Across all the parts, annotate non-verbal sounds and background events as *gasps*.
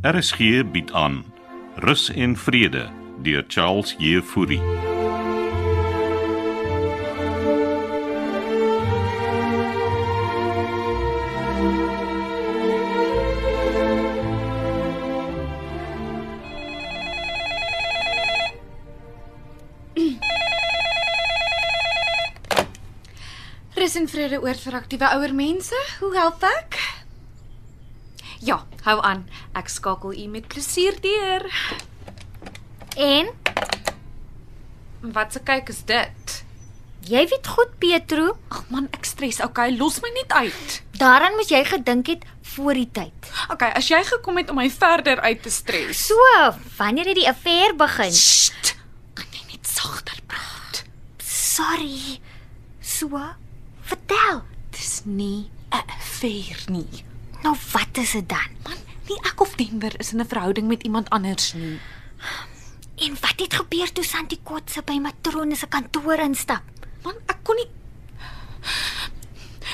RSG bied aan Rus en Vrede deur Charles Jefouri. Rus en vrede oor vir aktiewe ouer mense. Hoe help ek? Ja, hou aan. Ek skakel u met plesier deur. En Wat se kyk is dit? jy weet goed Petro, Ag man, ek stres. Okay, los my net uit. daaraan moes jy gedink het voor die tyd. Okay, as jy gekom het om my verder uit te stres. So, wanneer het die affære begin? Sst. Kan jy net sagter praat? Sorry. So, vertel. Dis nie 'n affair nie. Nou wat is dit dan? Man, nie ek of Denver is in 'n verhouding met iemand anders nie. En wat het gebeur toe Santikotse by matrone se kantoor instap? Man, ek kon nie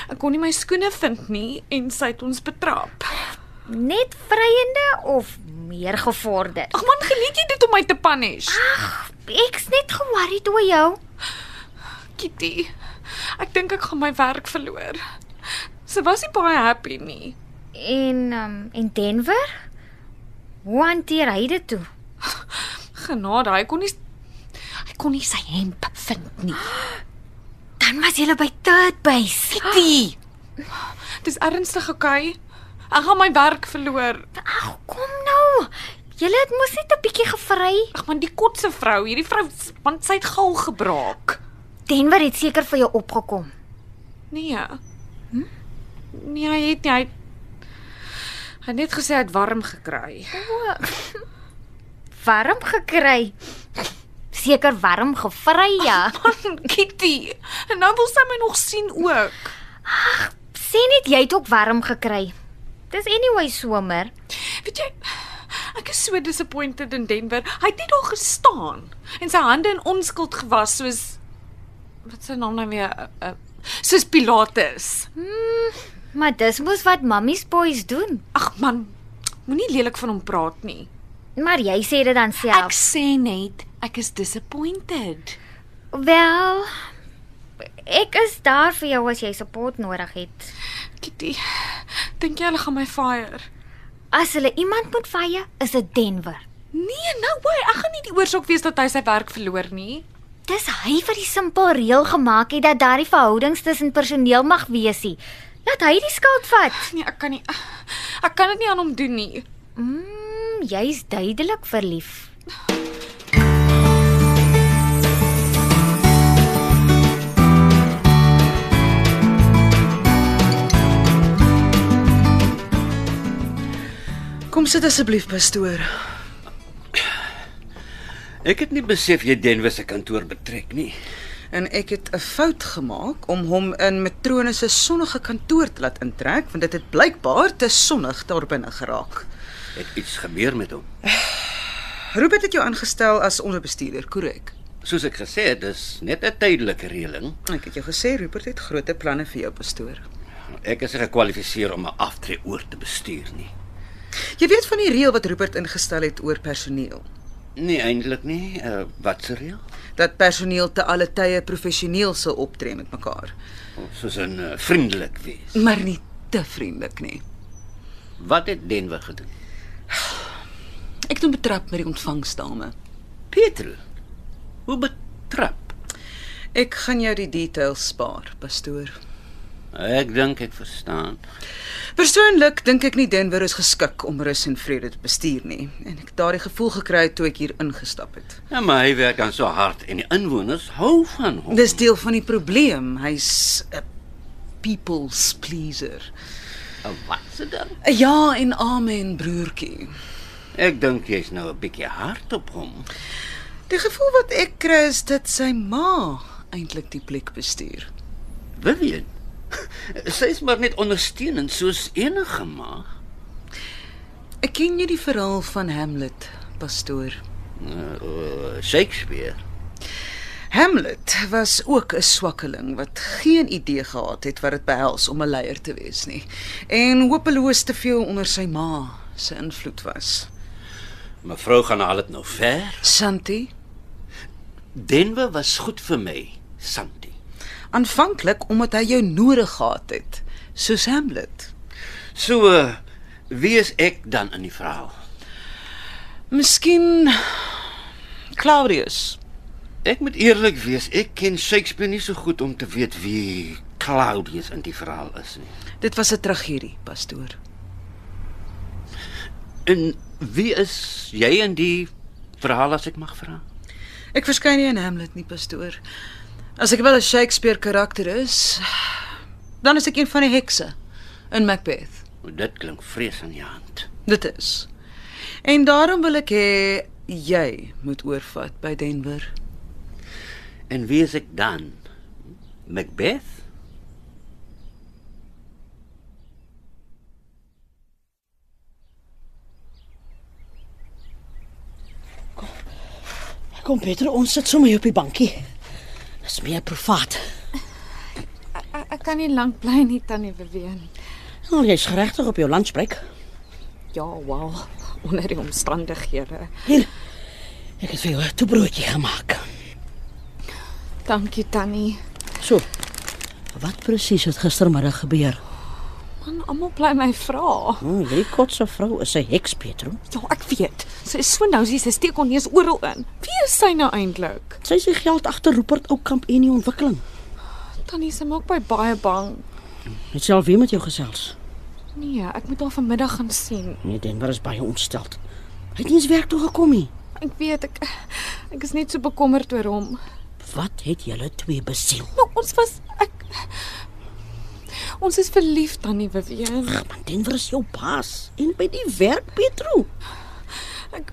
Ek kon nie my skoene vind nie en sy het ons betrap. Net vryende of meer gevorder? Ag man, geniet jy dit om my te punish? Ek's net ge-worried oor jou. Kitty, ek dink ek gaan my werk verloor. Sy was nie baie happy nie. En um, en Denver? Hoe hanteer hy dit toe? Genade, hy kon nie hy kon nie sy hemp vind nie. Dan was jy by third base. Kitty, dis ernstig, okay? Ek gaan my werk verloor. Ag, kom nou. Julle het mos net 'n bietjie gevry. Ag man, die kotse vrou, hierdie vrou, want sy het gal gebraak. Denver het seker vir jou opgekom. Nee. Hm? Nee, hy het nie hy hy het net gesê hy het warm gekry. Warm gekry. Seker warm gevry ja. Man, Kitty, en nou wil sy my nog sien ook. Sê net jy het ook warm gekry. Dis anyway somer. Weet jy, ek is so disappointed in Denver. Hy het net daar gestaan en sy hande in onskuld gewas soos wat sy naam nou weer uh, uh, soos Pilatus. Maar dis mos wat mammies boys doen. Ag man, moenie lelik van hom praat nie. Maar jy sê dit dan self. Ek sê net ek is disappointed. Wel, ek is daar vir jou as jy support nodig het. Kitty, dink jy hulle gaan my fire? As hulle iemand moet vye, is dit Denver. Nee, no way. Ek gaan nie die oorsaak wees dat hy sy werk verloor nie. Dis hy wat die simpel reël gemaak het dat daardie verhoudings tussen personeel mag wees. nie. Laat hy die skuld vat. Nee, ek kan nie. Ek kan dit nie aan hom doen nie. Mm, jy's duidelik verlief. Kom sit asseblief, pastoor. Ek het nie besef jy Denver se kantoor betrek nie. En ek het 'n fout gemaak om hom in matrone se sonnige kantoor te laat intrek, want dit het blykbaar te sonnig daar binne geraak. Het iets gebeur met hom. Robert het jou aangestel as onderbestuurder, korrek? Soos ek gesê het, dis net 'n tydelike reëling. Ek het jou gesê Robert het groot planne vir jou, pastoor. Ek is nie gekwalifiseer om 'n aftree oor te bestuur nie. Jy weet van die reël wat Robert ingestel het oor personeel, Nee, eintlik nie. Uh, wat se reël? dat personeel te alle tye professioneel sal optree met mekaar, Soos 'n uh, vriendelik wees. maar nie te vriendelik nie. Wat het Denver gedoen? Ek het hom betrap met die ontvangsdame. Petro. Hoe betrap? Ek gaan jou die details spaar, pastoor. Ek dink ek verstaan. Persoonlik dink ek nie Denver is geskik om rus en vrede te bestuur nie en ek het daardie gevoel gekry toe ek hier ingestap het. Ja, maar hy werk dan so hard en die inwoners hou van hom. Dis deel van die probleem. Hy's 'n people's pleaser. Uh, wat se ding? 'n Ja en amen, broertjie. Ek dink jy's nou 'n bietjie hard op hom. Die gevoel wat ek kry is dat sy ma eintlik die plek bestuur. Vivian. *laughs* Sy is maar net ondersteunend soos enige ma. Ek ken jy die verhaal van Hamlet, pastoor. Uh, uh, Shakespeare. Hamlet was ook 'n swakkeling wat geen idee gehad het wat dit behels om 'n leier te wees nie en hopeloos te veel onder sy ma se invloed was. Mevrou gaan al dit nou ver. Shanti, Denver was goed vir my, Santi. aanvanklik omdat hy jou nodig gehad het, soos Hamlet. So uh, wie is ek dan in die verhaal? Miskien Claudius. Ek moet eerlik wees, ek ken Shakespeare nie so goed om te weet wie Claudius in die verhaal is nie. Dit was 'n tragedie, pastoor. En wie is jy in die verhaal as ek mag vra? Ek verskyn nie in Hamlet nie, pastoor. As ek wel 'n Shakespeare karakter is, dan is ek een van die hekse in Macbeth. Dit klink vrees aan die hand. Dit is. En daarom wil ek hê jy moet oorvat by Denver. En wie is ek dan? Macbeth? Kom Peter, ons sit sommer hier op die bankie. Dis meer privaat. Ek, ek kan nie lank bly nie tannie Vivian. Nou, jy's geregtig op jou lunchbreek. Ja, wow, onder die omstandighede. Hier. Ek het vir jou 'n toebroodjie gemaak. Dankie tannie. So. Wat presies het gistermiddag gebeur? Man, almal bly my vra. Hm, hierdie kotse vrou is 'n heks, Petro. Ja, ek weet. Sy is so nou, sy steek haar neus oral in. Wie is sy nou eintlik? Sy se geld agter Rupert Oukamp en die ontwikkeling. Tannie se maak my baie bang. Het self weer met jou gesels. Nee, ek moet haar vanmiddag gaan sien. Nee, Denver is baie ontstel. Hy het nie eens werk toe gekom nie. Ek weet ek ek is net so bekommerd oor hom. Wat het julle twee besiel? Maar ons was ek Ons is verlief tannie Vivian. Ag, man, Denver is jou baas en by die werk, Nou, Petro. Ek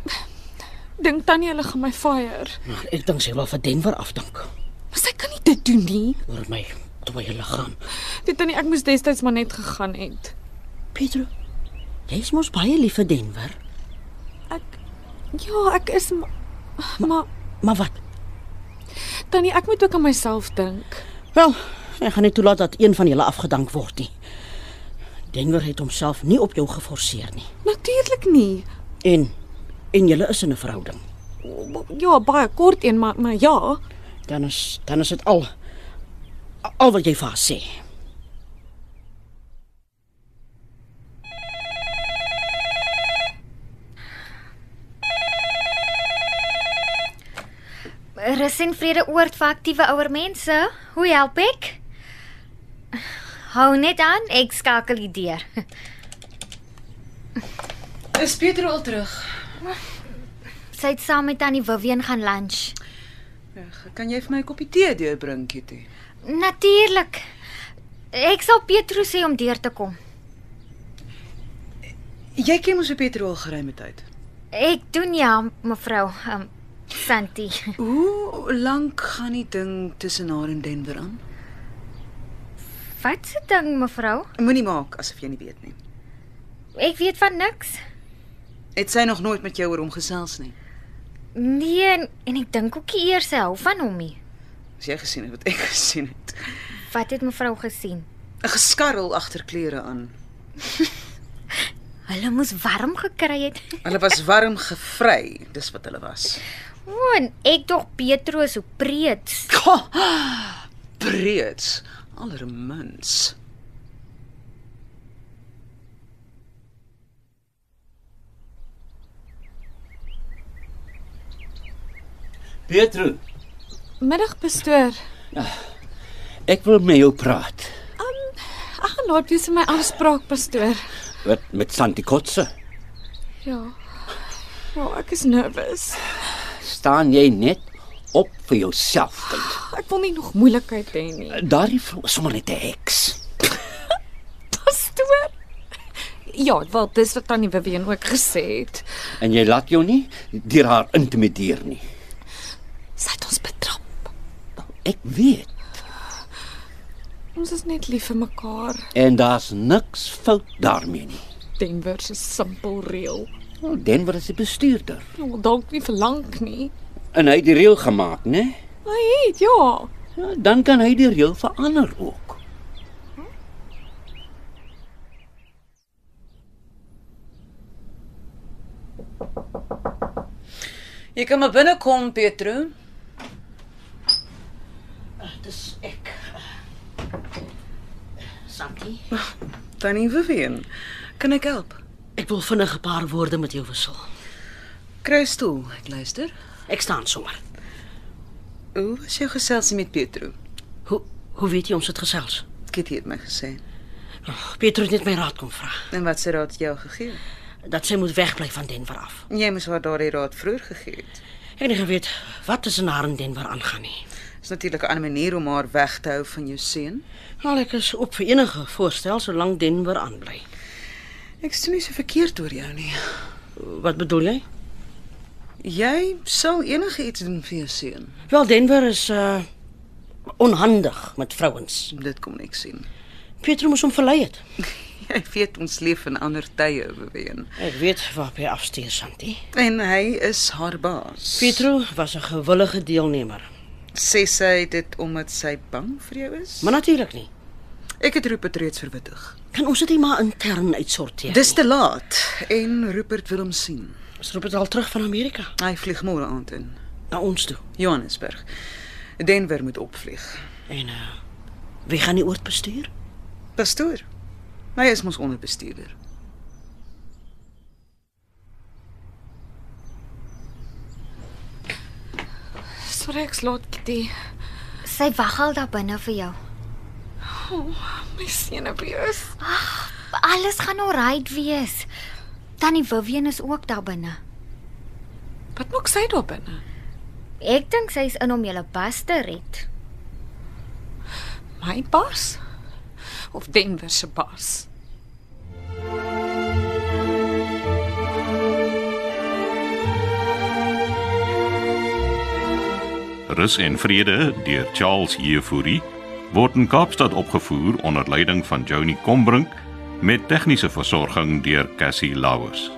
dink tannie hulle gaan my fire. Maar ek dink sy wil vir Denver afdank. Maar sy kan nie dit doen nie. Oor my dooie liggaam. Dit tannie ek moes destyds maar net gegaan het. Pedro, jy's mos baie lief vir Denver. Ek ja, ek is maar maar Maar wat? tannie ek moet ook aan myself dink. Wel, ek gaan nie toelaat dat een van julle afgedank word nie. Denver het homself nie op jou geforseer nie. Natuurlik nie. En en julle is in 'n verhouding. Ja, baie kort een, maar maar ja. Dan is dan is dit al al wat jy vir haar sê. Rus en vrede oord vir aktiewe ouer mense. Hoe help ek? Hou net aan, ek skakel die deur. *laughs* Is Pieter al terug? Sy het saam met tannie Vivian gaan lunch. Reg, Ja, kan jy vir my 'n koppie tee deurbring, Kitty? Natuurlik. Ek sal Petro sê om deur te kom. Jy ken mos hoe Pieter al gery met tyd. Ek doen ja, mevrou, um, Santi. Hoe lank gaan die ding tussen haar en Denver aan? *laughs* Wat se ding, mevrou? Moenie maak asof jy nie weet nie. Ek weet van niks. Het sy nog nooit met jou oor hom gesels nie. Nee, en, en ek dink ook nie eers hy hou van hom nie. As jy gesien het wat ek *laughs* gesien het. Wat het mevrou gesien? 'n Geskarrel agter klere aan. Hulle moes warm gekry het. Hulle was warm gevry, dis wat hulle was. *laughs* O, en ek dog Petro is so preet. *gasps* Breed, allermins. Pietro, Middag pastoor. ek wil met jou praat. Ek gaan laat wees in my afspraak pastoor. Wat met Santi Kotse? Ja. Ja, ek is nervus. Staan jy net op vir jouself, kind? Ek wil nie nog moeilikheid hê nie. Daardie vrou is sommer net 'n heks. Pastoor. Ja, wel dis wat tannie Vivian ook gesê het. En jy laat jou nie deur haar intimideer nie. Sy het ons betrap. Ek weet Ons is net lief vir mekaar. en daar's niks fout daarmee nie. Denver se simpel reël. Nou, Denver is die bestuurder Ja, wel, dalk nie verlang nie. en hy het die reël gemaak, né? Hy het ja. Ja, dan kan hy die reël verander ook. Jy kan maar binnekom, Petro. Dis ek. Santi, Tannie Vivian, kan ek help? ek wil vinnig 'n paar woorde met jou wissel. Kry 'n stoel, ek luister. Ek staan sommer. Hoe was jou geselsie met Petro? Hoe hoe weet jy ons het gesels? Kitty het my gesê. Oh, Pietro het net my raad kom vra En wat se raad het jy jou gegee? dat sy moet wegbly van Denver af. Jy moes haar daardie raad vroeër gegee het. Ek het nie geweet wat tussen haar en Denver aangaan nie. Dis natuurlik 'n ander manier om haar weg te hou van jou seun. Al ek is op vir enige voorstel solank Denver aanbly. Ek sien nie so verkeerd oor jou nie. Wat bedoel jy? Jy sal enige iets doen vir jou seun. Wel Denver is uh onhandig met vrouens. Dit kom niks sien. Pietro moes hom verlei het. Jy weet ons leef in ander tye, Vivian. Ek weet waar hy afsteer Santi. En hy is haar baas. Pietro was 'n gewillige deelnemer. sê sy dit omdat sy bang vir jou is? Maar natuurlik nie. Ek het Rupert reeds verwittig. Kan ons dit nie maar intern Ja. uitsorteer? Dis te laat en Rupert wil hom sien. Dis roep dit al terug van Amerika Hy vlieg môre aand in na ons toe. Johannesburg. Denver moet opvlieg. En uh wie gaan die oord bestuur? Pastoor. Hy is mos onderbestuurder. Sorry ek's laat, Kitty. Sy wag al daar binne vir jou. My senuwees. Alles gaan alright wees. Tannie Vivian is ook daar binne. Wat maak sy daar binne? Ek dink sy is in om julle pas te red. My bas of Denver se bas? Rus en Vrede deur Charles Jefouri word in Kaapstad opgevoer onder leiding van Johnny Combrink met tegniese versorging deur Cassie Lauers.